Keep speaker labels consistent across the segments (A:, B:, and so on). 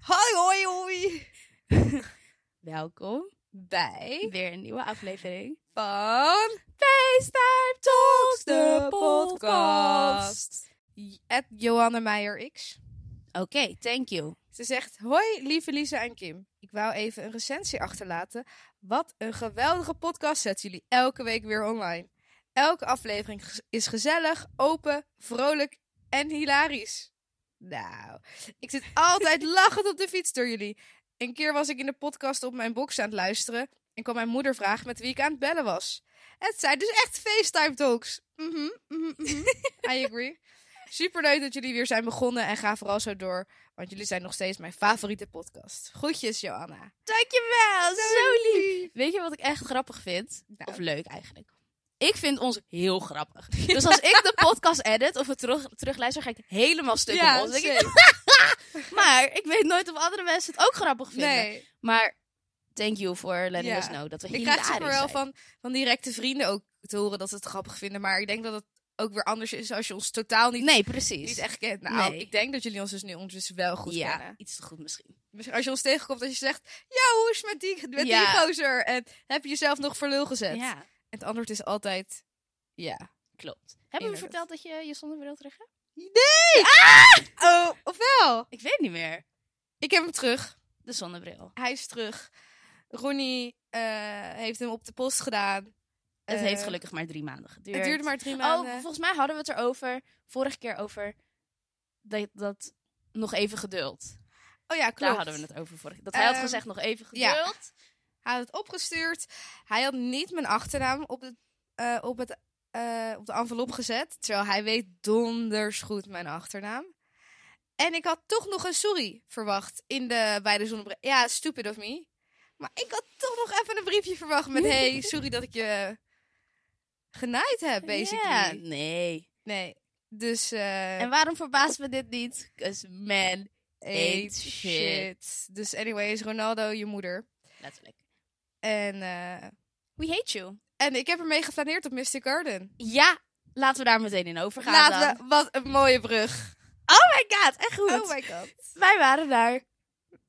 A: Hoi, hoi, hoi.
B: Welkom
A: Bij
B: weer een nieuwe aflevering.
A: van
B: FaceTime Talks,
A: de podcast. At Johanna Meijer X.
B: Oké, thank you.
A: Ze zegt, hoi lieve Lisa en Kim. Ik wou even een recensie achterlaten. Wat een geweldige podcast zetten jullie elke week weer online. Elke aflevering ge- is gezellig, open, vrolijk en hilarisch. Nou, ik zit altijd lachend op de fiets door jullie. Een keer was ik in de podcast op mijn box aan het luisteren en kwam mijn moeder vragen met wie ik aan het bellen was. Het zijn dus echt FaceTime talks. Mhm, mhm, mhm. I agree. Superleuk dat jullie weer zijn begonnen en ga vooral zo door. Want jullie zijn nog steeds mijn favoriete podcast. Groetjes, Johanna.
B: Dankjewel,
A: lief.
B: Nou, Weet je wat ik echt grappig vind?
A: Nou.
B: Oh, Of leuk eigenlijk. Ik vind ons heel grappig. Dus als ik de podcast edit of het terug, terugluister, ga ik helemaal stuk
A: Ja,
B: op ons. Dan denk ik, maar ik weet nooit of andere mensen het ook grappig vinden.
A: Nee,
B: Maar thank you for letting
A: Ja.
B: us know dat we
A: ik
B: hilarisch
A: krijg super wel
B: zijn.
A: van, van directe vrienden ook te horen dat ze het grappig vinden. Maar ik denk dat het ook weer anders is als je ons totaal niet,
B: Nee, precies.
A: niet echt kent. Nou,
B: Nee.
A: ik denk dat jullie ons dus nu ondertussen wel goed
B: ja,
A: kennen.
B: iets te goed misschien.
A: Misschien als je ons tegenkomt dat je zegt, ja, hoe is het met die, met die
B: Ja.
A: gozer? En heb je jezelf nog voor lul gezet? En
B: Ja,
A: het antwoord is altijd, ja.
B: klopt. Hebben we
A: Inderdaad.
B: verteld dat je je zonder bril terug hebt?
A: Oh, ofwel.
B: Ik weet niet meer.
A: Ik heb hem terug.
B: De zonnebril.
A: hij is terug. Ronnie eh, heeft hem op de post gedaan.
B: Het
A: Eh,
B: heeft gelukkig maar drie maanden geduurd.
A: Het duurde maar drie
B: Oh,
A: maanden.
B: volgens mij hadden we het erover, vorige keer over, dat, dat nog even geduld.
A: Oh ja, klopt.
B: Daar hadden we het over vorige Dat hij had
A: Ehm,
B: gezegd nog even
A: ja.
B: geduld.
A: Hij had het opgestuurd. Hij had niet mijn achternaam op, de, eh, op, het, eh, op de envelop gezet. Terwijl hij weet donders goed mijn achternaam. En ik had toch nog een sorry verwacht in de, bij de zonnebril. Ja, stupid of me. Maar ik had toch nog even een briefje verwacht met... hey, sorry dat ik je genaaid heb, basically.
B: Ja, nee.
A: Nee. Dus... eh,
B: En waarom verbaast me dit niet? 'Cause man,
A: Eet
B: Eet
A: shit. Dus anyways, Ronaldo, je moeder.
B: letterlijk.
A: En, eh,
B: We hate you.
A: en ik heb ermee geflaneerd op Mystic Garden.
B: Ja, laten we daar meteen in overgaan dan.
A: Laten we, wat een mooie brug.
B: Oh my god, echt goed.
A: Oh my god.
B: Wij waren daar.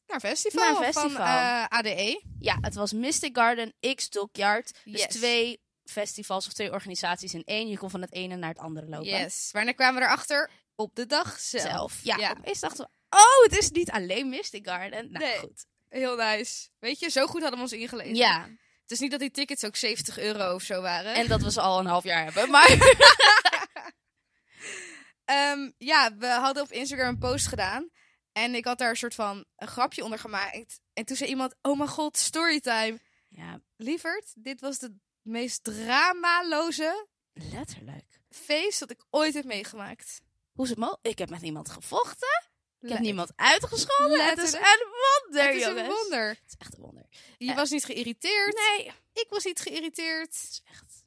A: Naar festival,
B: Naar festival.
A: van eh, ADE.
B: Ja, het was Mystic Garden x Dockyard. Dus
A: Yes.
B: twee festivals of twee organisaties in één. Je kon van het ene naar het andere lopen.
A: Yes. Waarna kwamen we erachter? Op de dag zelf.
B: Zelf. Ja,
A: Ja.
B: opeens dachten we, oh, het is niet alleen Mystic Garden. Nou,
A: Nee.
B: goed.
A: Heel nice. Weet je, zo goed hadden we ons ingelezen.
B: Ja,
A: Het is niet dat die tickets ook 70 euro of zo waren.
B: en dat we ze al een half jaar hebben. Maar
A: Ehm, ja, we hadden op Instagram een post gedaan. En ik had daar een soort van een grapje onder gemaakt. En toen zei iemand, oh mijn god, storytime.
B: ja,
A: Lieverd, dit was de meest dramaloze
B: letterlijk.
A: feest dat ik ooit heb meegemaakt.
B: Hoe is het mogelijk? Ik heb met niemand gevochten. Ik heb
A: Le-
B: niemand uitgescholden. Het is
A: Letterlijk.
B: een wonder,
A: Het is een
B: jongens.
A: wonder.
B: Het is echt een wonder.
A: Je
B: Eh.
A: was niet geïrriteerd.
B: Nee, het
A: Ik was niet geïrriteerd.
B: is echt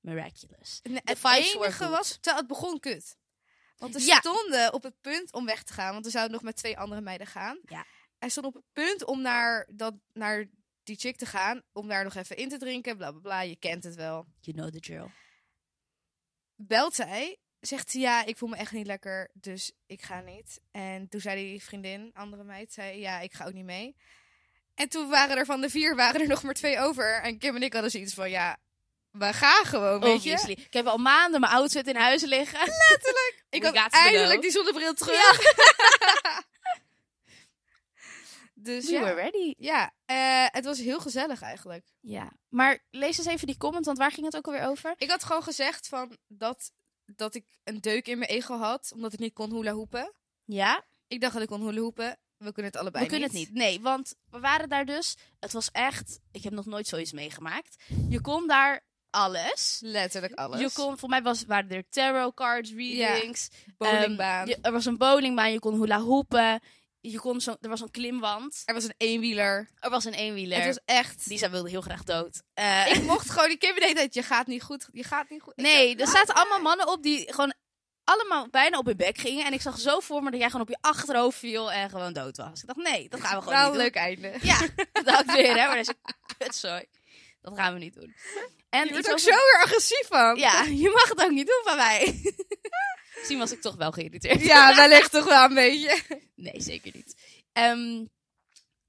B: miraculous.
A: En
B: De
A: het
B: vibes were
A: enige
B: good.
A: was, terwijl het begon kut. Want we
B: Ja.
A: stonden op het punt om weg te gaan. Want we zouden nog met twee andere meiden gaan.
B: Ja.
A: Hij stond op het punt om naar, dat, naar die chick te gaan. Om daar nog even in te drinken. Bla bla bla. Je kent het wel.
B: You know the drill.
A: belt zij. Zegt ze, ja, ik voel me echt niet lekker, dus ik ga niet. En toen zei die vriendin, andere meid, zei, ja, ik ga ook niet mee. En toen waren er van de vier, waren er nog maar twee over. En Kim en ik hadden zoiets van, ja, we gaan gewoon, weet je.
B: Obviously. Ik heb al maanden mijn outfit in huis liggen.
A: Ik
B: We
A: had
B: got to
A: eindelijk
B: go.
A: die zonnebril terug. dus
B: We were
A: ja,
B: ready.
A: ja eh, het was heel gezellig eigenlijk.
B: Ja. Maar lees eens even die comment, want waar ging het ook alweer over?
A: Ik had gewoon gezegd van, dat, dat ik een deuk in mijn ego had, omdat ik niet kon hula hoepen.
B: Ja,
A: Ik dacht dat ik kon hoelenhoepen. We kunnen het
B: we
A: allebei
B: kunnen het niet. Nee, want we waren daar dus. Het was echt. Ik heb nog nooit zoiets meegemaakt. Je kon daar alles.
A: Dus Letterlijk alles.
B: Je kon, voor mij was, waren er tarot cards, readings.
A: bowlingbaan.
B: Ehm, je- er was een bowlingbaan, je kon hula hoepen. Je kon zo, er was een klimwand.
A: er was een eenwieler.
B: Er was een eenwieler.
A: Het was echt...
B: Lisa wilde heel graag dood. Eh,
A: Ik mocht gewoon... Die Kim deed dat. Je gaat niet goed. Je gaat niet goed. Ik
B: nee, er zaten allemaal mannen op die gewoon allemaal bijna op hun bek gingen. En ik zag zo voor me dat jij gewoon op je achterhoofd viel en gewoon dood was. Ik dacht, nee, dat gaan we
A: dacht,
B: gewoon
A: Ah, Wel
B: niet
A: een
B: doen.
A: leuk einde.
B: Ja, dat weer, hè. Maar dat is een kutzooi. Dat gaan we niet doen. En
A: Je wordt
B: iets
A: ook
B: over-
A: zo weer agressief van.
B: Ja, je mag het ook niet doen van mij. Misschien was ik toch wel geïrriteerd.
A: Ja, wellicht toch wel een beetje.
B: Nee, zeker niet. Ehm,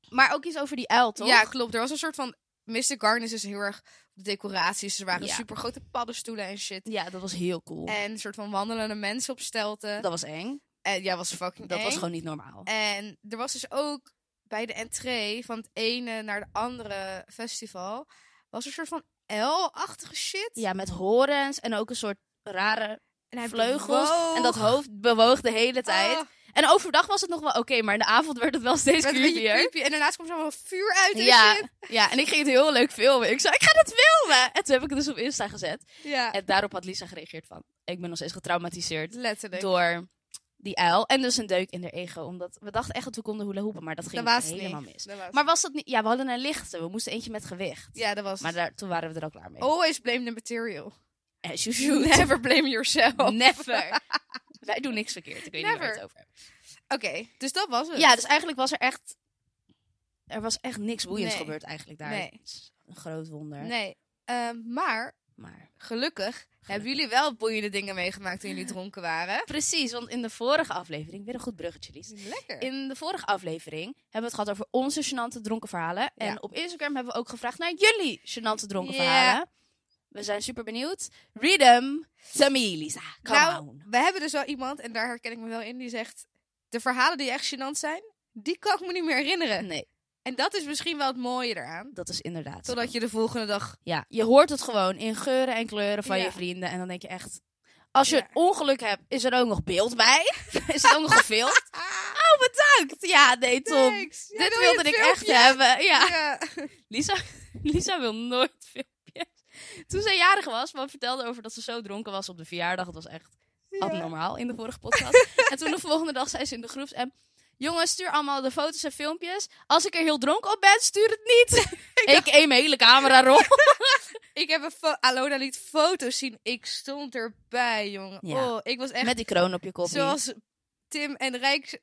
B: maar ook iets over die uil, toch?
A: Ja, klopt. Er was een soort van... Mr. Garnis is heel erg de decoraties. Er waren
B: Ja.
A: super grote paddenstoelen en shit.
B: ja, dat was heel cool.
A: En een soort van wandelende mensen op stelten.
B: dat was eng.
A: En ja, was fucking
B: Dat
A: eng.
B: was gewoon niet normaal.
A: En er was dus ook bij de entree van het ene naar de andere festival... was er een soort van L-achtige shit.
B: Ja, met horens en ook een soort rare
A: en hij
B: vleugels.
A: bewoog.
B: En dat hoofd bewoog de hele tijd.
A: Ah,
B: En overdag was het nog wel oké, maar in de avond werd het wel steeds
A: werd een beetje
B: creepier.
A: creepy. En daarnaast kwam zo'n vuur uit en
B: Ja.
A: shit.
B: Ja, en ik ging het heel leuk filmen. Ik zei, ik ga dit filmen! En toen heb ik het dus op Insta gezet.
A: Ja,
B: En daarop had Lisa gereageerd van, ik ben nog steeds getraumatiseerd
A: letterlijk.
B: door die uil. En dus een deuk in haar ego, omdat we dachten echt dat we konden hula hoepen, maar dat
A: dat
B: ging
A: was het
B: helemaal
A: niet.
B: mis.
A: Dat was
B: Maar was dat niet... Ja, we hadden een lichte, we moesten eentje met gewicht.
A: Ja, dat was
B: Maar
A: het.
B: daar, toen waren we er al klaar mee.
A: Always blame the material.
B: En shoot,
A: You
B: shoot.
A: never blame yourself.
B: Never. Wij doen niks verkeerd, ik weet niet waar je
A: Never.
B: het over hebt.
A: Oké, dus dat was het.
B: Ja, dus eigenlijk was er echt... Er was echt niks boeiends
A: Nee.
B: gebeurd eigenlijk daar.
A: Nee.
B: Het is Een groot wonder.
A: Nee, ehm, maar
B: Maar
A: gelukkig, hebben jullie wel boeiende dingen meegemaakt toen jullie dronken waren.
B: Precies, want in de vorige aflevering, weer een goed bruggetje, Lies.
A: Lekker.
B: In de vorige aflevering hebben we het gehad over onze gênante dronken verhalen.
A: Ja.
B: En op Instagram hebben we ook gevraagd naar jullie gênante dronken
A: Ja.
B: verhalen. We zijn super benieuwd. Read them to me, Lisa. Come
A: nou,
B: on.
A: we hebben dus wel iemand, en daar herken ik me wel in, die zegt... De verhalen die echt gênant zijn, die kan ik me niet meer herinneren.
B: Nee,
A: En dat is misschien wel het mooie eraan.
B: dat is inderdaad. zo.
A: Totdat je de volgende dag...
B: Ja, je hoort het gewoon in geuren en kleuren van
A: Ja.
B: je vrienden. En dan denk je echt... Als je
A: Ja.
B: een ongeluk hebt, is er ook nog beeld bij? is het ook nog gefilmd? Oh, bedankt! Ja, nee, Tom.
A: Thanks. Ja,
B: Dit
A: wil je
B: wilde
A: het
B: ik echt
A: filmpje?
B: hebben. Ja.
A: Ja.
B: Lisa, Lisa wil nooit filmpjes. Toen zij jarig was, want vertelde over dat ze zo dronken was op de verjaardag. Het was echt abnormaal in de vorige podcast. en toen de volgende dag zei ze in de groeps en jongens, stuur allemaal de foto's en filmpjes. Als ik er heel dronken op ben, stuur het niet. ik eet mijn hele camera rol.
A: Ik heb een fo- Alona liet foto's zien. Ik stond erbij, jongen.
B: Ja.
A: Oh, ik was echt
B: Met die kroon op je kop.
A: zoals Tim en Rijk...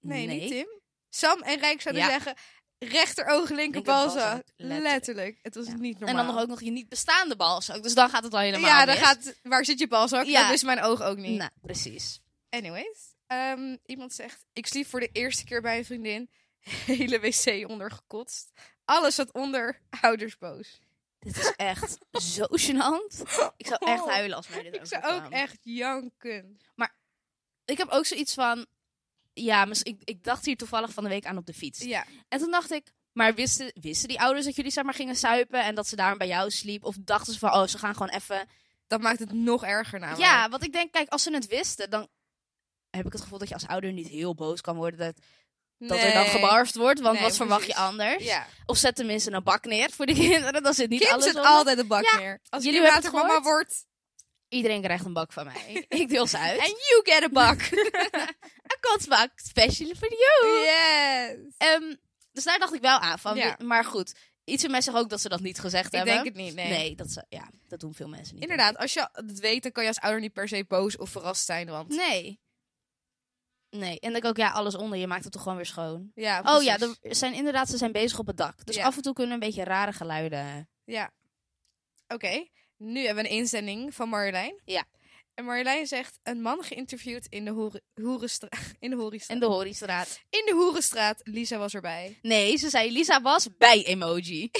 A: Nee, niet Tim. Sam en Rijk zouden
B: Ja.
A: zeggen... Rechteroog, linkerbalzak.
B: Linkerbalzak,
A: Letterlijk.
B: letterlijk.
A: Het was
B: Ja.
A: niet
B: En
A: normaal.
B: dan nog ook nog je niet bestaande balzak. Dus dan gaat het al helemaal
A: Ja, dan
B: mis.
A: gaat... Waar zit je balzak?
B: Ja.
A: Dat is mijn oog ook niet.
B: Nou, precies.
A: Anyways. ehm, iemand zegt... Ik sliep voor de eerste keer bij een vriendin. Hele wc ondergekotst. Alles zat onder. Ouders boos.
B: Dit is echt zo gênant. Ik zou echt huilen als mij dit
A: Oh. Ik zou
B: overkwam.
A: ook echt janken.
B: ik heb ook zoiets van. Ja, mis- ik, ik dacht hier toevallig van de week aan op de fiets.
A: Ja.
B: En toen dacht ik, maar wisten, wisten die ouders dat jullie samen gingen suipen en dat ze daarom bij jou sliep? Of dachten ze van, oh, ze gaan gewoon even.
A: Dat maakt het nog erger namelijk.
B: ja, want ik denk, kijk, als ze het wisten, dan heb ik het gevoel dat je als ouder niet heel boos kan worden dat, dat er dan
A: Nee.
B: gebarfd wordt. Want
A: Nee,
B: wat verwacht je
A: precies.
B: anders?
A: Ja.
B: Of zet tenminste een bak neer voor de kinderen. Dan zit niet
A: Kim
B: alles
A: zit
B: onder.
A: altijd de bak
B: Ja,
A: neer. Als
B: jullie
A: Kim
B: hebben
A: later
B: het
A: mama wordt...
B: Iedereen krijgt een bak van mij. ik deel ze uit.
A: And you get a bak.
B: een kotsbak, special for you.
A: yes.
B: Ehm, dus daar dacht ik wel aan. Van,
A: Ja.
B: wi- Maar goed, iets van mij zegt ook dat ze dat niet gezegd
A: Ik
B: hebben.
A: denk het niet, nee.
B: nee, dat, ze, ja, dat doen veel mensen niet.
A: Inderdaad, als je het weet, dan kan je als ouder niet per se boos of verrast zijn, want...
B: Nee. Nee, en dan ook, ja, alles onder. Je maakt het toch gewoon weer schoon.
A: Ja,
B: Oh ja,
A: precies.
B: er zijn inderdaad, ze zijn bezig op het dak. Dus
A: Ja.
B: af en toe kunnen een beetje rare geluiden.
A: Ja. Oké, nu hebben we een inzending van Marjolein.
B: Ja.
A: En Marjolein zegt, een man geïnterviewd in de, hoeren, hoerenstraat, in de hoerenstraat.
B: En de Horistraat.
A: In de hoerenstraat, Lisa was erbij.
B: Nee, ze zei Lisa was bij emoji.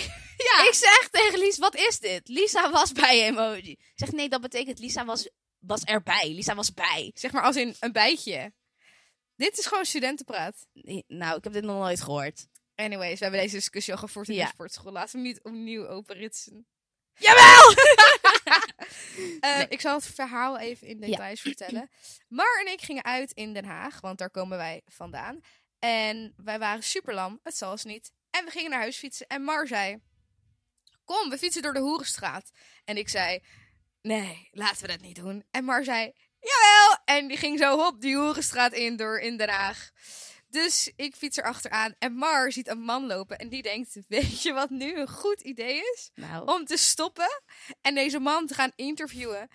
B: ja. Ik zeg tegen Lies, wat is dit? Lisa was bij emoji. Zegt nee, dat betekent Lisa was, was erbij. Lisa was bij.
A: Zeg maar als in een bijtje. Dit is gewoon studentenpraat.
B: Nee, Nou, ik heb dit nog nooit gehoord.
A: Anyways, we hebben deze discussie al gevoerd in
B: Ja.
A: de sportschool. Laten we hem niet opnieuw openritsen.
B: Jawel!
A: Eh,
B: Nee.
A: Ik zal het verhaal even in details vertellen. Mar en ik gingen uit in Den Haag, want daar komen wij vandaan. En wij waren super lam, het zal eens niet. En we gingen naar huis fietsen en Mar zei... Kom, we fietsen door de Hoerenstraat. En ik zei... Nee, laten we dat niet doen. En Mar zei... Jawel! En die ging zo hop die Hoerenstraat in door in Den Haag. Dus ik fiets er achteraan en Mar ziet een man lopen en die denkt... Weet je wat nu een goed idee is?
B: Nou,
A: om te stoppen en deze man te gaan interviewen.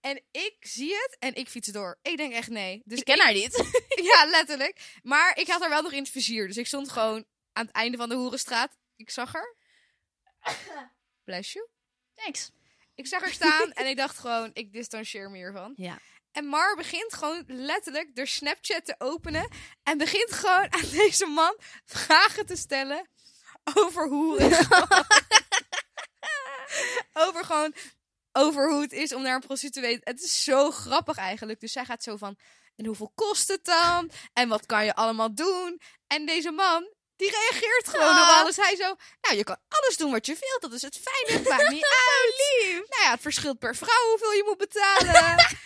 A: En ik zie het en ik fiets door. Ik denk echt nee. Dus
B: ik ken haar niet.
A: ja, letterlijk. Maar ik had haar wel nog in het vizier. Dus ik stond gewoon aan het einde van de Hoerenstraat. Ik zag haar. Bless you.
B: Thanks.
A: Ik zag haar staan en ik dacht gewoon, ik distancieer me hiervan.
B: Ja.
A: En Mar begint gewoon letterlijk door Snapchat te openen. En begint gewoon aan deze man vragen te stellen over hoe. over gewoon. Over hoe het is om naar een prostituee. Het is zo grappig eigenlijk. Dus zij gaat zo van. En hoeveel kost het dan? En wat kan je allemaal doen? En deze man. Die reageert gewoon op
B: Ah.
A: alles. Hij zo. Nou, je kan alles doen wat je wilt. Dat is het fijne. Het maakt niet
B: Oh,
A: uit. Nou ja, het verschilt per vrouw hoeveel je moet betalen.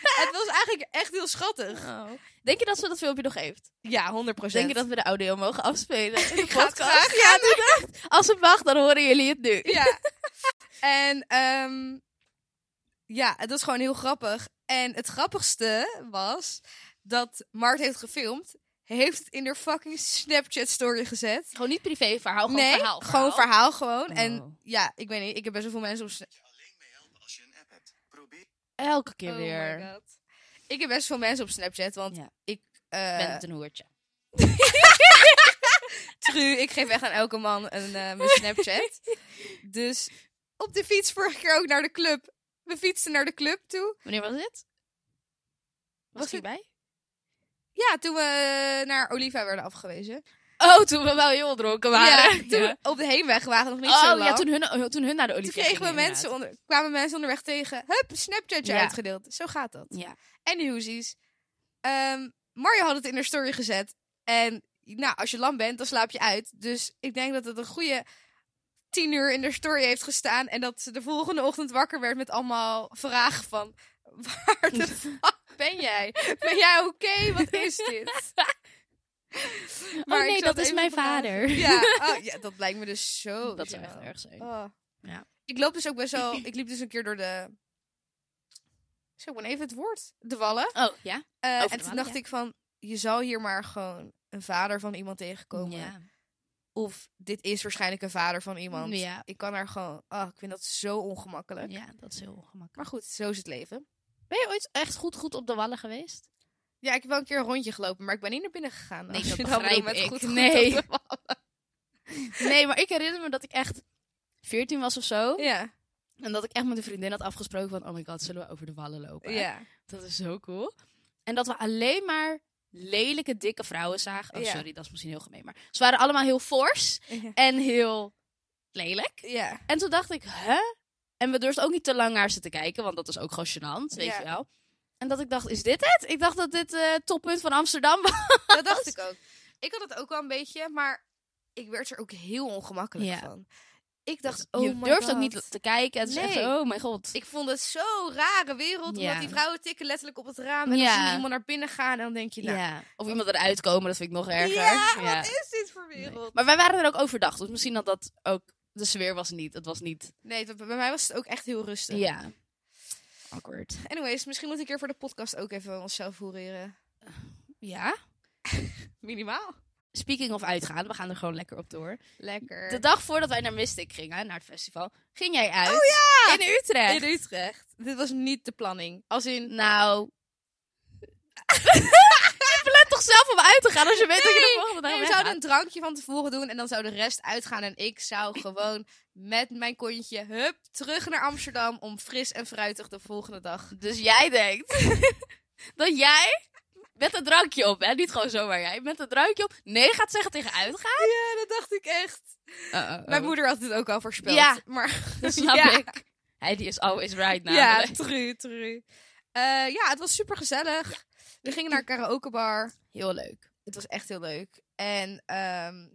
A: het was eigenlijk echt heel schattig.
B: Oh. Denk je dat ze dat filmpje nog heeft?
A: Ja, 100
B: Denk je dat we de audio mogen afspelen? In de
A: Ik ga het
B: podcast?
A: graag ja,
B: Als het mag, dan horen jullie het nu.
A: Ja. En ehm, ja, het was gewoon heel grappig. En het grappigste was dat Mart heeft gefilmd, heeft het in haar fucking Snapchat story gezet.
B: Gewoon niet privé verhaal, gewoon
A: nee,
B: verhaal.
A: gewoon verhaal gewoon.
B: Oh.
A: En ja, ik weet niet, ik heb best wel veel mensen op Sna-
C: je alleen mee helpen als je een app hebt. Probeer.
B: Elke keer
A: Oh my
B: weer.
A: God. Ik heb best veel mensen op Snapchat, want
B: Ja.
A: ik eh,
B: Bent een hoertje.
A: Tru, ik geef echt aan elke man een, eh, mijn Snapchat. dus op de fiets vorige keer ook naar de club. We fietsten naar de club toe.
B: Wanneer was dit? Was,
A: Was
B: ik bij?
A: Ja, toen we eh, naar Oliva werden afgewezen.
B: Oh, toen we wel heel dronken waren.
A: Ja, toen we op de heenweg waren we nog niet
B: oh,
A: zo lang.
B: ja, toen hun, toen hun naar de
A: Toen
B: Olivier
A: kregen we
B: gingen,
A: mensen
B: inderdaad.
A: onder, kwamen mensen onderweg tegen. Hup, Snapchatje
B: Ja.
A: uitgedeeld. Zo gaat dat.
B: Ja.
A: En de hoesies. Ehm, Mario had het in haar story gezet. En nou, als je lam bent, dan slaap je uit. Dus ik denk dat het een goede tien uur in haar story heeft gestaan. En dat ze de volgende ochtend wakker werd met allemaal vragen van... Waar de fuck ben jij? Ben jij oké? Wat is dit?
B: oh
A: ik
B: nee,
A: zat
B: dat is
A: even
B: mijn
A: vandaag-
B: vader.
A: Ja, oh, ja, dat lijkt me dus zo.
B: dat zou
A: bizar.
B: echt erg zijn.
A: Oh.
B: Ja.
A: Ik loop dus ook best wel. Ik liep dus een keer door de. Zo, ik ben even het woord. De wallen.
B: Oh, ja?
A: Eh,
B: Over de
A: en toen
B: wallen,
A: dacht
B: ja.
A: ik van, je zal hier maar gewoon een vader van iemand tegenkomen.
B: Ja.
A: Of dit is waarschijnlijk een vader van iemand.
B: Ja.
A: Ik kan daar gewoon. Oh, ik vind dat zo ongemakkelijk.
B: ja, dat is heel ongemakkelijk.
A: Maar goed, zo is het leven.
B: Ben je ooit echt goed, goed op de wallen geweest?
A: Ja, ik heb wel een keer een rondje gelopen, maar ik ben niet naar binnen gegaan.
B: Nee,
A: Als
B: dat
A: je dan bedoelt
B: begrijp
A: met
B: ik.
A: goed, goed
B: Nee.
A: op de wallen.
B: Nee, maar ik herinner me dat ik echt 14 was of zo.
A: Ja,
B: En dat ik echt met een vriendin had afgesproken van... Oh my god, zullen we over de wallen lopen?
A: ja.
B: Dat is zo cool. En dat we alleen maar lelijke, dikke vrouwen zagen. Oh,
A: Ja.
B: sorry, dat is misschien heel gemeen. Maar ze waren allemaal heel fors
A: Ja.
B: en heel lelijk.
A: Ja.
B: En toen dacht ik, hè? En we durfden ook niet te lang naar ze te kijken, want dat is ook gewoon gênant, weet
A: Ja.
B: je wel. En dat ik dacht, is dit het? Ik dacht dat dit eh toppunt van Amsterdam was.
A: Dat dacht ik ook. Ik had het ook wel een beetje, maar ik werd er ook heel ongemakkelijk
B: Ja.
A: van. Ik dacht,
B: je
A: oh my
B: durft ook
A: God.
B: niet te kijken. Het is echt,
A: Nee.
B: zo, oh mijn god.
A: Ik vond het zo'n rare wereld,
B: Ja.
A: omdat die vrouwen tikken letterlijk op het raam. En
B: Ja.
A: dan zie je iemand naar binnen gaan en dan denk je, nou,
B: ja. Of iemand eruit komen, dat vind ik nog erger.
A: Ja,
B: Ja.
A: wat is dit voor
B: Nee.
A: wereld?
B: Maar wij waren er ook overdag, dus misschien dat dat ook... De sfeer was niet, het was niet...
A: Nee, dat- bij mij was het ook echt heel rustig.
B: Ja. Awkward.
A: Anyways, misschien moet ik hier voor de podcast ook even onszelf hoereren.
B: Ja.
A: Minimaal.
B: Speaking of uitgaan, we gaan er gewoon lekker op door.
A: Lekker.
B: De dag voordat wij naar Mystic gingen, naar het festival, ging jij uit.
A: Oh
B: Oh In Utrecht.
A: In Utrecht. Dit was niet de planning. Als in,
B: Nou. Let toch zelf om uit te gaan als je weet dat je de volgende dag
A: Nee, we
B: weggaat.
A: zouden een drankje van tevoren doen en dan zou de rest uitgaan. En ik zou gewoon met mijn kontje, hup, terug naar Amsterdam om fris en fruitig de volgende dag.
B: Dus jij denkt dat jij met een drankje op, hè? Niet gewoon zomaar jij. Met een drankje op. Nee, gaat zeggen tegen uitgaan.
A: Ja, dat dacht ik echt. Mijn moeder had dit ook al voorspeld.
B: Ja.
A: maar
B: Dat snap
A: Ja.
B: ik. Hij die is always right
A: ja,
B: namelijk.
A: tru, tru. Eh, ja, het was super gezellig. We gingen naar een karaokebar.
B: Heel leuk.
A: Het was echt heel leuk. En ehm,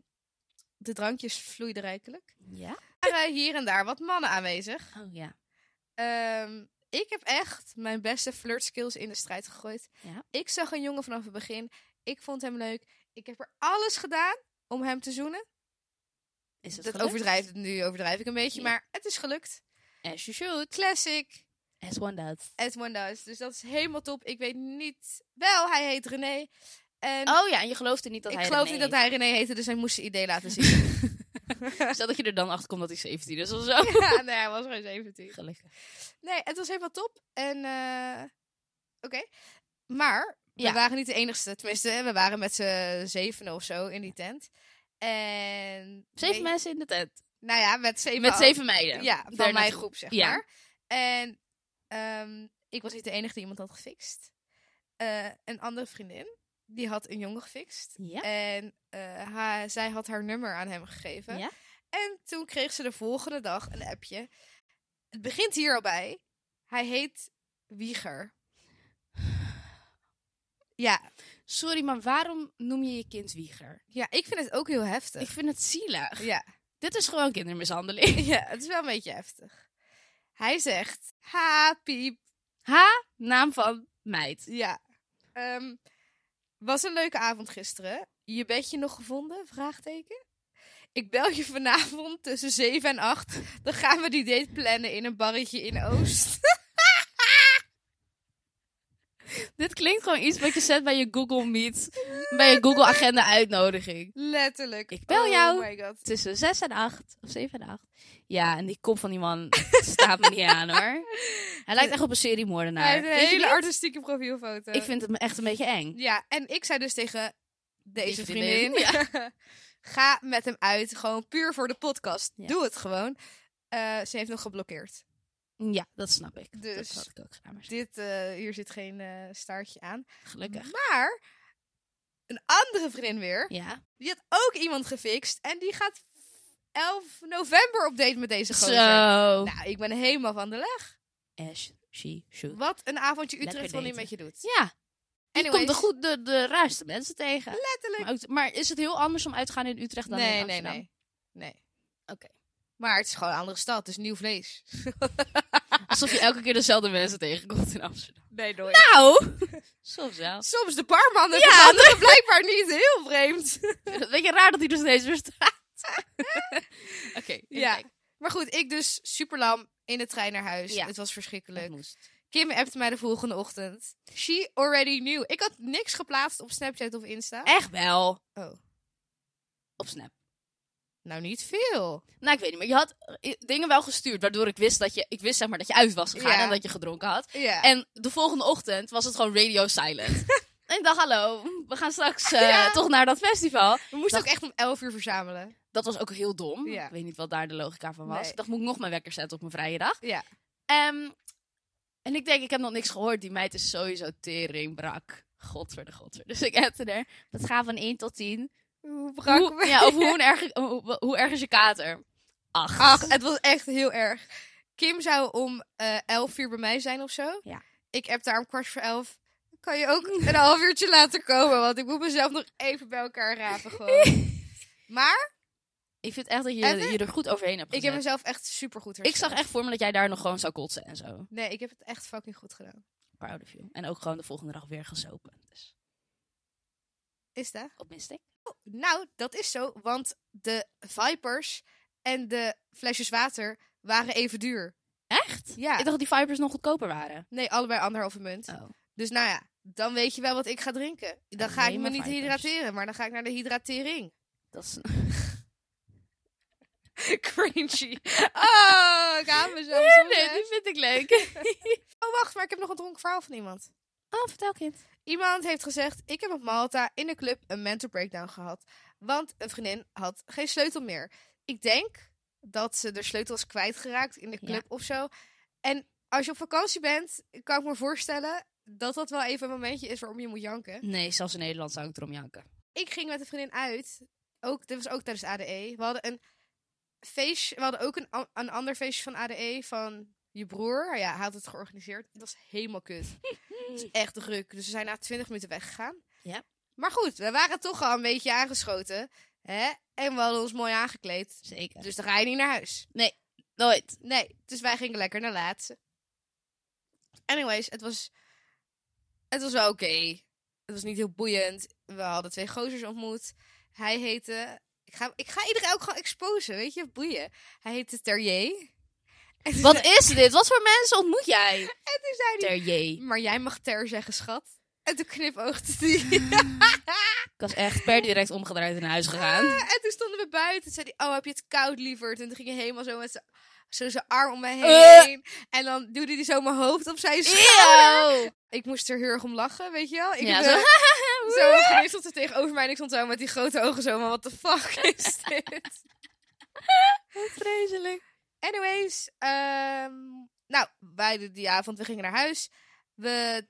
A: de drankjes vloeiden rijkelijk.
B: Ja?
A: Er waren hier en daar wat mannen aanwezig.
B: Oh ja.
A: Ehm, ik heb echt mijn beste flirtskills in de strijd gegooid.
B: Ja.
A: Ik zag een jongen vanaf het begin. Ik vond hem leuk. Ik heb er alles gedaan om hem te zoenen.
B: Is het
A: Dat
B: gelukt?
A: overdrijft, nu overdrijf ik een beetje,
B: Ja.
A: maar het is gelukt.
B: As you should.
A: Classic,
B: As one does.
A: as one does. Dus dat is helemaal top. Ik weet niet... Wel, hij heet René. En
B: Oh ja, en je geloofde niet dat
A: ik
B: hij
A: geloof
B: René
A: niet dat
B: heet.
A: hij René heette, dus hij moest zijn idee laten zien.
B: Stel dat je er dan achter komt dat hij 17 is of zo.
A: ja, nee, hij was gewoon 17.
B: Gelukkig.
A: Nee, het was helemaal top. En eh, oké. Maar we
B: Ja.
A: waren niet de enigste. Tenminste, we waren met z'n zeven of zo in die tent. En.
B: Zeven
A: nee,
B: mensen in de tent.
A: Nou ja, met zeven.
B: Met zeven meiden.
A: Ja, van
B: Daar
A: mijn
B: naartoe.
A: groep, zeg
B: Ja.
A: maar. En ehm, ik was niet de enige die iemand had gefixt. eh, een andere vriendin. Die had een jongen gefixt.
B: Ja.
A: En eh, ha- zij had haar nummer aan hem gegeven.
B: Ja.
A: En toen kreeg ze de volgende dag een appje. Het begint hier al bij. Hij heet Wieger. Ja,
B: Sorry, maar waarom noem je je kind Wieger?
A: ja, ik vind het ook heel heftig.
B: Ik vind het zielig.
A: Ja.
B: Dit is gewoon kindermishandeling.
A: ja, het is wel een beetje heftig. Hij zegt, ha, piep.
B: Ha, naam van meid.
A: Ja. Ehm, was een leuke avond gisteren. Je bedje nog gevonden? Vraagteken. Ik bel je vanavond tussen 7 en 8. Dan gaan we die date plannen in een barretje in Oost.
B: Dit klinkt gewoon iets wat je zet bij je Google Meet, bij je Google Agenda uitnodiging.
A: Letterlijk.
B: Ik bel
A: oh
B: jou.
A: my god.
B: Tussen 6 en 8, of 7 en 8. Ja, en die kop van die man staat me niet aan hoor. Hij lijkt echt op een serie
A: Hij
B: moordenaar.
A: heeft een hele artistieke profielfoto.
B: Ik vind hem echt een beetje eng.
A: Ja, en ik zei dus tegen deze
B: Die vriendin,
A: vriendin... ga met hem uit. Gewoon puur voor de podcast.
B: Ja.
A: Doe het gewoon. Eh, ze heeft nog geblokkeerd.
B: Ja, dat snap ik.
A: Dus-
B: Dat had ik ook gedaan, maar
A: Dit, eh, hier zit geen eh, staartje aan.
B: gelukkig.
A: Maar een andere vriendin weer,
B: Ja.
A: die had ook iemand gefixt. En die gaat 11 november op date met deze
B: Zo.
A: gozer. Nou, ik ben helemaal van de leg.
B: Ash, she, shoot.
A: Wat een avondje Utrecht
B: Lekker
A: Ronnie
B: daten.
A: met je doet.
B: Ja, en je
A: Anyways,
B: komt de, goed, de, de raarste mensen tegen.
A: letterlijk.
B: Maar, ook- maar is het heel anders om uit te gaan in Utrecht dan
A: nee,
B: in
A: nee,
B: Amsterdam?
A: nee. Nee.
B: Oké.
A: Maar het is gewoon een andere stad, dus nieuw vlees.
B: Alsof je elke keer dezelfde mensen tegenkomt in Amsterdam.
A: Nee, nooit.
B: Nou! Soms wel.
A: Soms de barman en
B: Ja,
A: ja, anderen blijkbaar niet. Heel vreemd.
B: Weet je, raar dat hij er steeds weer staat. Oké,
A: Ja.
B: ja.
A: Maar goed, ik dus superlam in de trein naar huis.
B: Ja.
A: Het was verschrikkelijk.
B: Leuk. moest.
A: Kim appte mij de volgende ochtend. She already knew. Ik had niks geplaatst op Snapchat of Insta.
B: Echt wel.
A: Ah. Oh,
B: Op Snap.
A: nou niet veel.
B: Nou, ik weet niet, maar je had eh, dingen wel gestuurd, waardoor ik wist dat je, ik wist zeg maar dat je uit was gegaan
A: Ja.
B: en dat je gedronken had.
A: Ja.
B: En de volgende ochtend was het gewoon radio silent. en ik dacht, hallo, we gaan straks eh,
A: Ja.
B: toch naar dat festival.
A: we moesten
B: dacht-
A: ook echt om 11 uur verzamelen.
B: Dat was ook heel dom.
A: Ja.
B: Ik weet niet wat daar de logica van was.
A: Nee.
B: Ik dacht, moet ik nog mijn wekker zetten op mijn vrije dag?
A: Ja.
B: Ehm, en ik denk, ik heb nog niks gehoord. Die meid is sowieso teringbrak. Godverde, godverde. Dus ik appte er. Dat gaat van 1 tot 10.
A: Hoe brak
B: Hoe, ja, over hoe, erg, hoe, hoe erg is je kater? Acht.
A: Ach, het was echt heel erg. Kim zou om eh 11 uur bij mij zijn of zo.
B: Ja.
A: Ik appte haar om kwart voor 11. Kan je ook een half uurtje later komen? Want ik moet mezelf nog even bij elkaar rapen gewoon. Maar
B: Ik vind echt dat je
A: Even?
B: je er goed overheen hebt
A: ik
B: gezet.
A: heb mezelf echt supergoed
B: Ik
A: hersteld.
B: zag echt voor me dat jij daar nog gewoon zou kotsen en zo.
A: Nee, ik heb het echt fucking goed gedaan.
B: Proud of you. En ook gewoon de volgende dag weer gesopen. Dus,
A: Is dat?
B: op miste ik.
A: Nou, dat is zo, want de Vipers en de flesjes water waren even duur.
B: Echt?
A: Ja.
B: Ik dacht dat die Vipers nog goedkoper waren.
A: Nee, allebei anderhalve munt.
B: Oh.
A: Dus nou ja, dan weet je wel wat ik ga drinken. Dan ga ik
B: Alleen
A: me
B: maar
A: niet
B: Vipers.
A: hydrateren, maar dan ga ik naar de hydratering.
B: Dat is...
A: Cringy. Oh, ik haal mezelf soms, hè.
B: die vind ik leuk.
A: Oh, wacht, maar ik heb nog een dronken verhaal van iemand.
B: Oh, vertel kind.
A: Iemand heeft gezegd, ik heb op Malta in de club een mental breakdown gehad. Want een vriendin had geen sleutel meer. Ik denk dat ze de sleutel is kwijtgeraakt in de
B: Ja.
A: club of zo. En als je op vakantie bent, kan ik me voorstellen dat dat wel even een momentje is waarom je moet janken.
B: Nee, zelfs in Nederland zou ik erom janken.
A: Ik ging met een vriendin uit. Ook, dit was ook tijdens ADE. We hadden een feestje, we hadden ook een, a- een ander feestje van ADE van je broer. Nou Ja, hij had het georganiseerd. Het was helemaal kut. Het is echt druk. Dus we zijn na 20 minuten weggegaan.
B: Ja.
A: Maar goed, we waren toch al een beetje aangeschoten. Hè? En we hadden ons mooi aangekleed.
B: Zeker.
A: Dus dan ga je niet naar huis.
B: Nooit.
A: Nee, dus wij gingen lekker naar laatste. Anyways, het was, het was wel oké. Het was niet heel boeiend. We hadden twee gozers ontmoet. Hij heette... Ik ga, ik ga iedereen ook gewoon exposen, weet je? Boeien. Hij heette Terrier. En
B: Wat is dit? Wat voor mensen ontmoet jij?
A: toen zei hij...
B: Ter J.
A: Maar jij mag Ter zeggen, schat. En toen knipoogde hij.
B: Ik was echt per direct omgedraaid en naar huis gegaan.
A: En toen stonden we buiten. Toen zei hij, oh, heb je het koud, lieverd? En toen ging hij helemaal zo met zijn- zo zijn arm om me heen. En dan duwde hij zo mijn hoofd op zijn schouder.
B: Eh. Eeuw.
A: Ik moest er heel erg om lachen, weet je wel? Ik
B: Ja,
A: heb,
B: zo.
A: eh, zo geniet stond er tegenover mij en ik stond zo met die grote ogen zo, maar wat de fuck is dit?
B: Vreselijk.
A: Anyways, ehm, nou, wij de- die avond, we gingen naar huis. We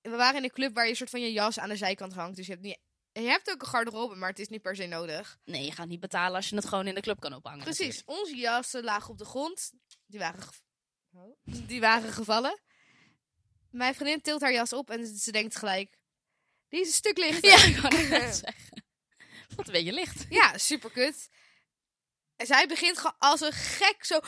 A: we waren in een club waar je soort van je jas aan de zijkant hangt. Dus je hebt, niet, je hebt ook een garderobe, maar het is niet per se nodig.
B: Nee, je gaat niet betalen als je het gewoon in de club kan ophangen.
A: Precies. Onze jassen lagen op de grond. Die waren, gev- die waren gevallen. Mijn vriendin tilt haar jas op en ze denkt gelijk... Die is een stuk lichter.
B: natuurlijk. Ja, ik wou net zeggen. Wat ben je licht.
A: Ja, super kut. En zij begint gewoon als een gek zo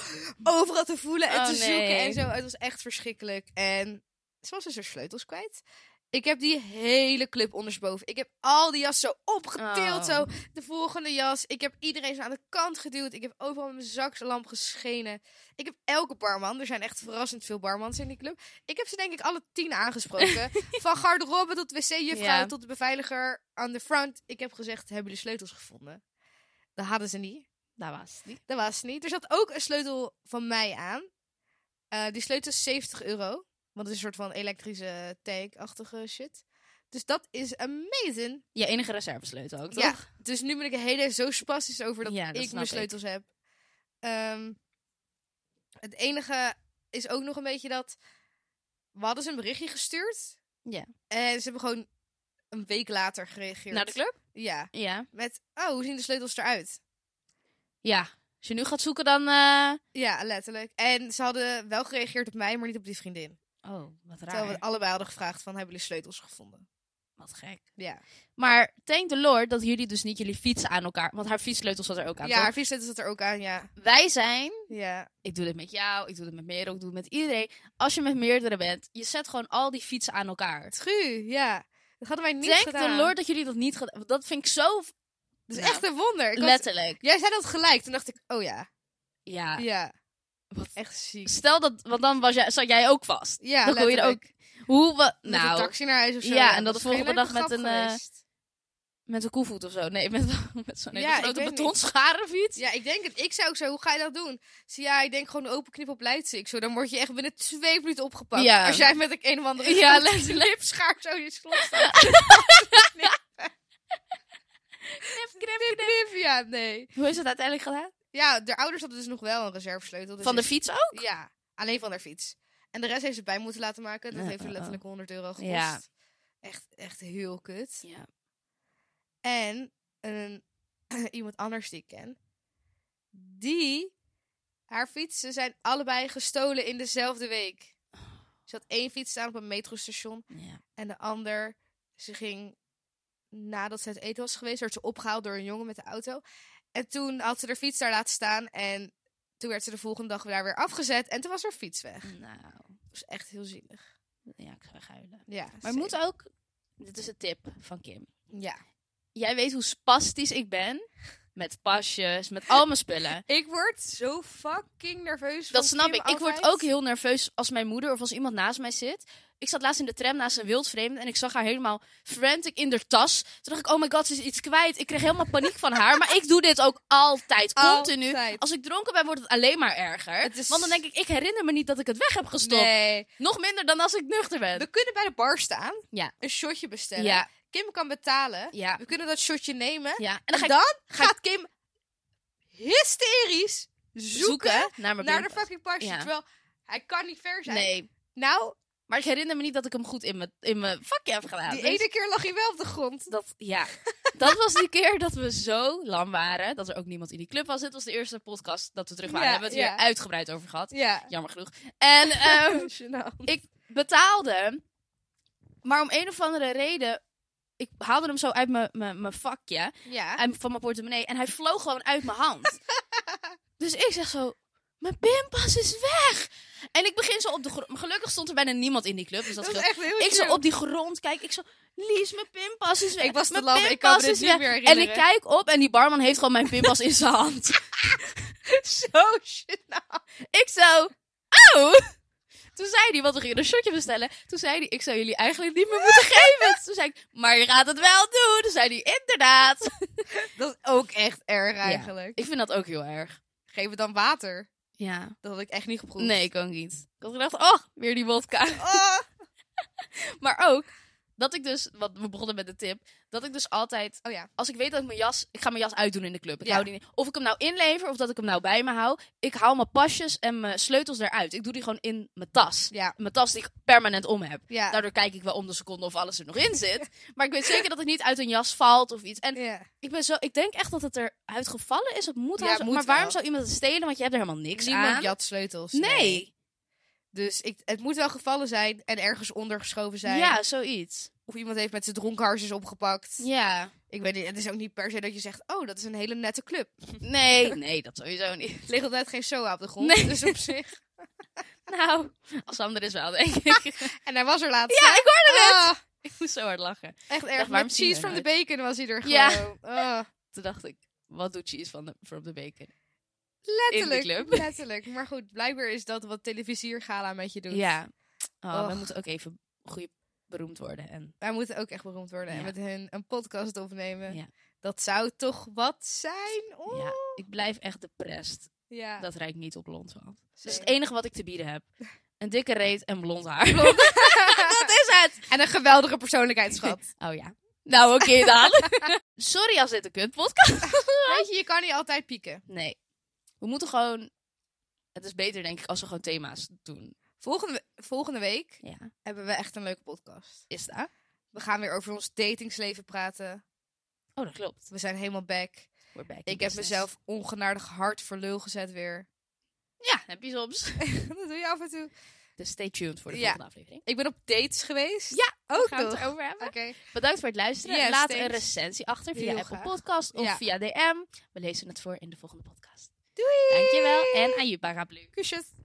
A: overal te voelen en
B: Oh,
A: te
B: nee.
A: zoeken en zo. Het was echt verschrikkelijk. En ze was dus haar sleutels kwijt. Ik heb die hele club ondersteboven. Ik heb al die jas zo opgetild,
B: Oh.
A: zo de volgende jas. Ik heb iedereen zo aan de kant geduwd. Ik heb overal met mijn zakslamp geschenen. Ik heb elke barman, er zijn echt verrassend veel barmans in die club. Ik heb ze denk ik alle tien aangesproken. Van garderobe tot wc-juffrouw
B: Ja.
A: tot de beveiliger aan de front. Ik heb gezegd, hebben jullie sleutels gevonden? Dat hadden ze niet.
B: Daar was het niet.
A: Dat was ze niet. Er zat ook een sleutel van mij aan. Eh, die sleutel is 70 euro. Want het is een soort van elektrische tag-achtige shit. Dus dat is amazing.
B: Je enige reservesleutel ook, toch?
A: Ja. Dus nu ben ik de hele tijd zo spastisch over dat
B: Ja, dat
A: ik
B: snap
A: mijn
B: ik.
A: sleutels heb. Ehm, het enige is ook nog een beetje dat... We hadden ze een berichtje gestuurd.
B: Ja.
A: En ze hebben gewoon een week later gereageerd.
B: Naar de club?
A: Ja.
B: Ja.
A: Met, oh, hoe zien de sleutels eruit?
B: Ja. Als je nu gaat zoeken, dan... eh,
A: Ja, letterlijk. En ze hadden wel gereageerd op mij, maar niet op die vriendin.
B: Oh, wat raar.
A: Terwijl we allebei hadden gevraagd van, hebben jullie sleutels gevonden?
B: Wat gek.
A: Ja.
B: Maar thank the lord dat jullie dus niet jullie fiets aan elkaar... Want haar fietsleutel zat er ook aan,
A: ja, haar
B: toch?
A: viersleutel zat er ook aan, ja.
B: Wij zijn...
A: Ja,
B: Ik doe dit met jou, ik doe dit met Merel, ik doe het met iedereen. Als je met meerdere bent, je zet gewoon al die fietsen aan elkaar.
A: tru, ja. Dat hadden wij niet
B: Thank
A: gedaan.
B: the lord dat jullie dat niet gedaan... want Dat vind ik zo...
A: Dat is
B: Nou,
A: echt een wonder. Ik had-
B: Letterlijk.
A: Jij zei dat gelijk, toen dacht ik, oh ja.
B: Ja.
A: Ja,
B: Wat
A: echt ziek.
B: Stel dat, want dan was jij, zat jij ook vast.
A: Ja,
B: dan kon je er
A: letterlijk.
B: Hoe, wat,
A: Met een
B: nou,
A: taxi naar huis of zo.
B: ja, en dat
A: is
B: de volgende
A: geen
B: dag
A: leuke
B: met
A: grap
B: een, eh,
A: geweest.
B: met een koevoet of zo. Nee, met, met zo'n hele
A: Ja, ik
B: grote
A: weet niet.
B: betonschaar of iets.
A: Ja, ik denk het. Ik zou ook zo, hoe ga je dat doen? Ze, ja, ik denk gewoon een open knip op Leidsiek. Zo, dan word je echt binnen twee minuten opgepakt.
B: Ja.
A: Als jij met een of andere
B: Ja,
A: grote
B: letterlijk.
A: lipschaar zo in je slot staat. knip, knip, knip. Ja, nee.
B: Hoe is het uiteindelijk gedaan?
A: Ja, de ouders hadden dus nog wel een reservesleutel. Dus
B: Van de
A: ik-
B: fiets ook?
A: Ja, alleen van haar fiets. En de rest heeft ze bij moeten laten maken. Dat
B: Ja,
A: heeft
B: oh,
A: haar
B: oh.
A: letterlijk 100 euro gekost.
B: Ja.
A: Echt, echt heel kut.
B: Ja.
A: En een, iemand anders die ik ken, die, haar fietsen zijn allebei gestolen in dezelfde week. Ze had één fiets staan op een metrostation en de ander, ze ging nadat ze uit eten was geweest, werd ze opgehaald door een jongen met de auto. En toen had ze haar fiets daar laten staan en toen werd ze de volgende dag daar weer afgezet en toen was haar fiets weg.
B: Nou,
A: Dat was echt heel zielig.
B: ja, ik zou huilen.
A: Ja,
B: Maar je
A: zeker.
B: moet ook, dit is een tip van Kim.
A: Ja.
B: Jij weet hoe spastisch ik ben met pasjes, met al mijn spullen.
A: Ik word zo fucking nerveus.
B: Dat
A: van
B: snap
A: Kim
B: ik. Ik word
A: altijd.
B: ook heel nerveus als mijn moeder of als iemand naast mij zit. Ik zat laatst in de tram naast een wildvreemde en ik zag haar helemaal frantic in haar tas. Toen dacht ik, oh my god, ze is iets kwijt. Ik kreeg helemaal paniek van haar. Maar ik doe dit ook altijd, continu.
A: Altijd.
B: Als ik dronken ben, wordt het alleen maar erger.
A: Het is-
B: Want dan denk ik, ik herinner me niet dat ik het weg heb gestopt.
A: Nee.
B: Nog minder dan als ik nuchter ben.
A: We kunnen bij de bar staan.
B: Ja.
A: Een shotje bestellen.
B: Ja,
A: Kim kan betalen.
B: ja,
A: We kunnen dat shotje nemen.
B: ja. En
A: En
B: dan ga
A: dan,
B: ik ga
A: gaat Kim hysterisch zoeken,
B: zoeken
A: naar
B: naar mijn
A: de
B: binnenpas.
A: fucking pasje.
B: Ja.
A: Terwijl hij kan niet ver zijn.
B: Nee,
A: Nou,
B: maar ik herinner me niet dat ik hem goed in mijn, in mijn vakje heb gedaan.
A: die
B: Dus-
A: ene keer lag hij wel op de grond.
B: Dat, ja, dat was die keer dat we zo lam waren. Dat er ook niemand in die club was. Dit was de eerste podcast dat we terug waren.
A: Ja,
B: Daar hebben we het
A: ja.
B: hier uitgebreid over gehad.
A: Ja.
B: Jammer genoeg. En ehm,
A: Gênant.
B: betaalde. Maar om een of andere reden. Ik haalde hem zo uit mijn- mijn mijn vakje.
A: ja.
B: uit- Van mijn portemonnee. En hij vloog gewoon uit mijn hand. dus ik zeg zo. Mijn pinpas is weg. En ik begin zo op de grond. maar Gelukkig stond er bijna niemand in die club. Dus dat
A: Dat
B: scheelt.
A: is echt heel
B: Ik zo
A: chill.
B: op die grond kijk. Ik zo, Lies, mijn pinpas is weg.
A: Ik was te
B: Mijn
A: lam, ik kan me
B: pinpas
A: dit
B: is
A: niet
B: weg."
A: meer
B: En ik
A: herinneren.
B: kijk op en die barman heeft gewoon mijn pinpas in zijn hand.
A: zo gênant.
B: Ik zo, oh! Toen zei hij, want we gingen een shotje bestellen. Toen zei hij, ik zou jullie eigenlijk niet meer moeten geven. Toen zei ik, maar je gaat het wel doen. Toen zei hij, inderdaad.
A: Dat is ook echt erg eigenlijk.
B: Ik vind dat ook heel erg.
A: Geef het dan water.
B: Ja.
A: Dat had ik echt niet geproefd.
B: "Oh, Nee, ik ook niet. Ik had gedacht, oh, weer die wodka.
A: Oh,
B: Maar ook, dat ik dus, wat we begonnen met de tip, dat ik dus altijd,
A: Oh ja.
B: als ik weet dat ik mijn jas, ik ga mijn jas uitdoen in de club. Ik
A: Ja.
B: hou die, niet- of ik hem nou inlever of dat ik hem nou bij me hou. Ik haal mijn pasjes en mijn sleutels eruit. Ik doe die gewoon in mijn tas.
A: Ja.
B: Mijn tas die ik permanent om heb.
A: Ja.
B: Daardoor kijk ik wel om de seconde of alles er nog in zit. Maar ik weet zeker dat het niet uit een jas valt of iets. En
A: Ja.
B: ik, ben zo, ik denk echt dat het eruit gevallen is. Het moet,
A: Ja,
B: haast-
A: moet
B: Maar waarom
A: wel.
B: zou iemand het stelen? Want je hebt er helemaal niks
A: Niemand
B: aan.
A: jat sleutels.
B: nee.
A: Dus ik, het moet wel gevallen zijn en ergens ondergeschoven zijn.
B: Ja, zoiets.
A: Of iemand heeft met zijn dronkenharsjes opgepakt.
B: Ja.
A: Ik weet niet, het is ook niet per se dat je zegt, oh, dat is een hele nette club.
B: Nee, nee, dat sowieso niet.
A: Er ligt altijd geen SOA op de grond,
B: Nee.
A: dus op zich.
B: Nou, als Sam er is wel, denk ik.
A: En hij was er laatst.
B: ja, ik hoorde het.
A: Ah,
B: Ik moest zo hard lachen.
A: echt erg.
B: waarom
A: Met
B: zie je
A: cheese
B: er
A: from the bacon was hij er
B: Ja.
A: gewoon. Ah,
B: Toen dacht ik, wat doet Cheese van de, from the Bacon?
A: letterlijk,
B: club.
A: letterlijk. Maar goed, blijkbaar is dat wat televisiergala met je doet.
B: Ja. Oh, we
A: Och.
B: moeten ook even goed beroemd worden. En
A: Wij moeten ook echt beroemd worden en
B: Ja.
A: met hun een podcast opnemen.
B: Ja.
A: Dat zou toch wat zijn? Oh.
B: ja, ik blijf echt depressed.
A: Ja.
B: Dat rijdt niet op blond want. Dat is het
A: zeker.
B: enige wat ik te bieden heb. Een dikke reet en blond haar. dat is het!
A: en een geweldige persoonlijkheid, schat.
B: Oh ja. Nou, oké dan. Sorry als dit een kut podcast
A: Weet je, je kan niet altijd pieken.
B: Nee. We moeten gewoon... Het is beter, denk ik, als we gewoon thema's doen.
A: Volgende, we- volgende week
B: Ja.
A: hebben we echt een leuke podcast.
B: Is dat?
A: We gaan weer over ons datingsleven praten.
B: Oh, dat klopt.
A: We zijn helemaal back.
B: We're back in
A: Ik heb
B: business.
A: mezelf ongenadig hard voor lul gezet weer.
B: Ja, heb je soms.
A: dat doe je af en toe.
B: Dus stay tuned voor de
A: Ja.
B: volgende aflevering.
A: Ik ben op dates geweest.
B: Ja,
A: ook
B: gaan we het
A: nog.
B: erover hebben.
A: Oké.
B: Bedankt voor het luisteren.
A: Yes,
B: Laat
A: thanks.
B: een recensie achter via
A: Heel
B: Apple
A: graag.
B: Podcast of
A: Ja.
B: via DM. We lezen het voor in de volgende podcast.
A: Doei.
B: Dankjewel en aan je paraplu.
A: Kusjes.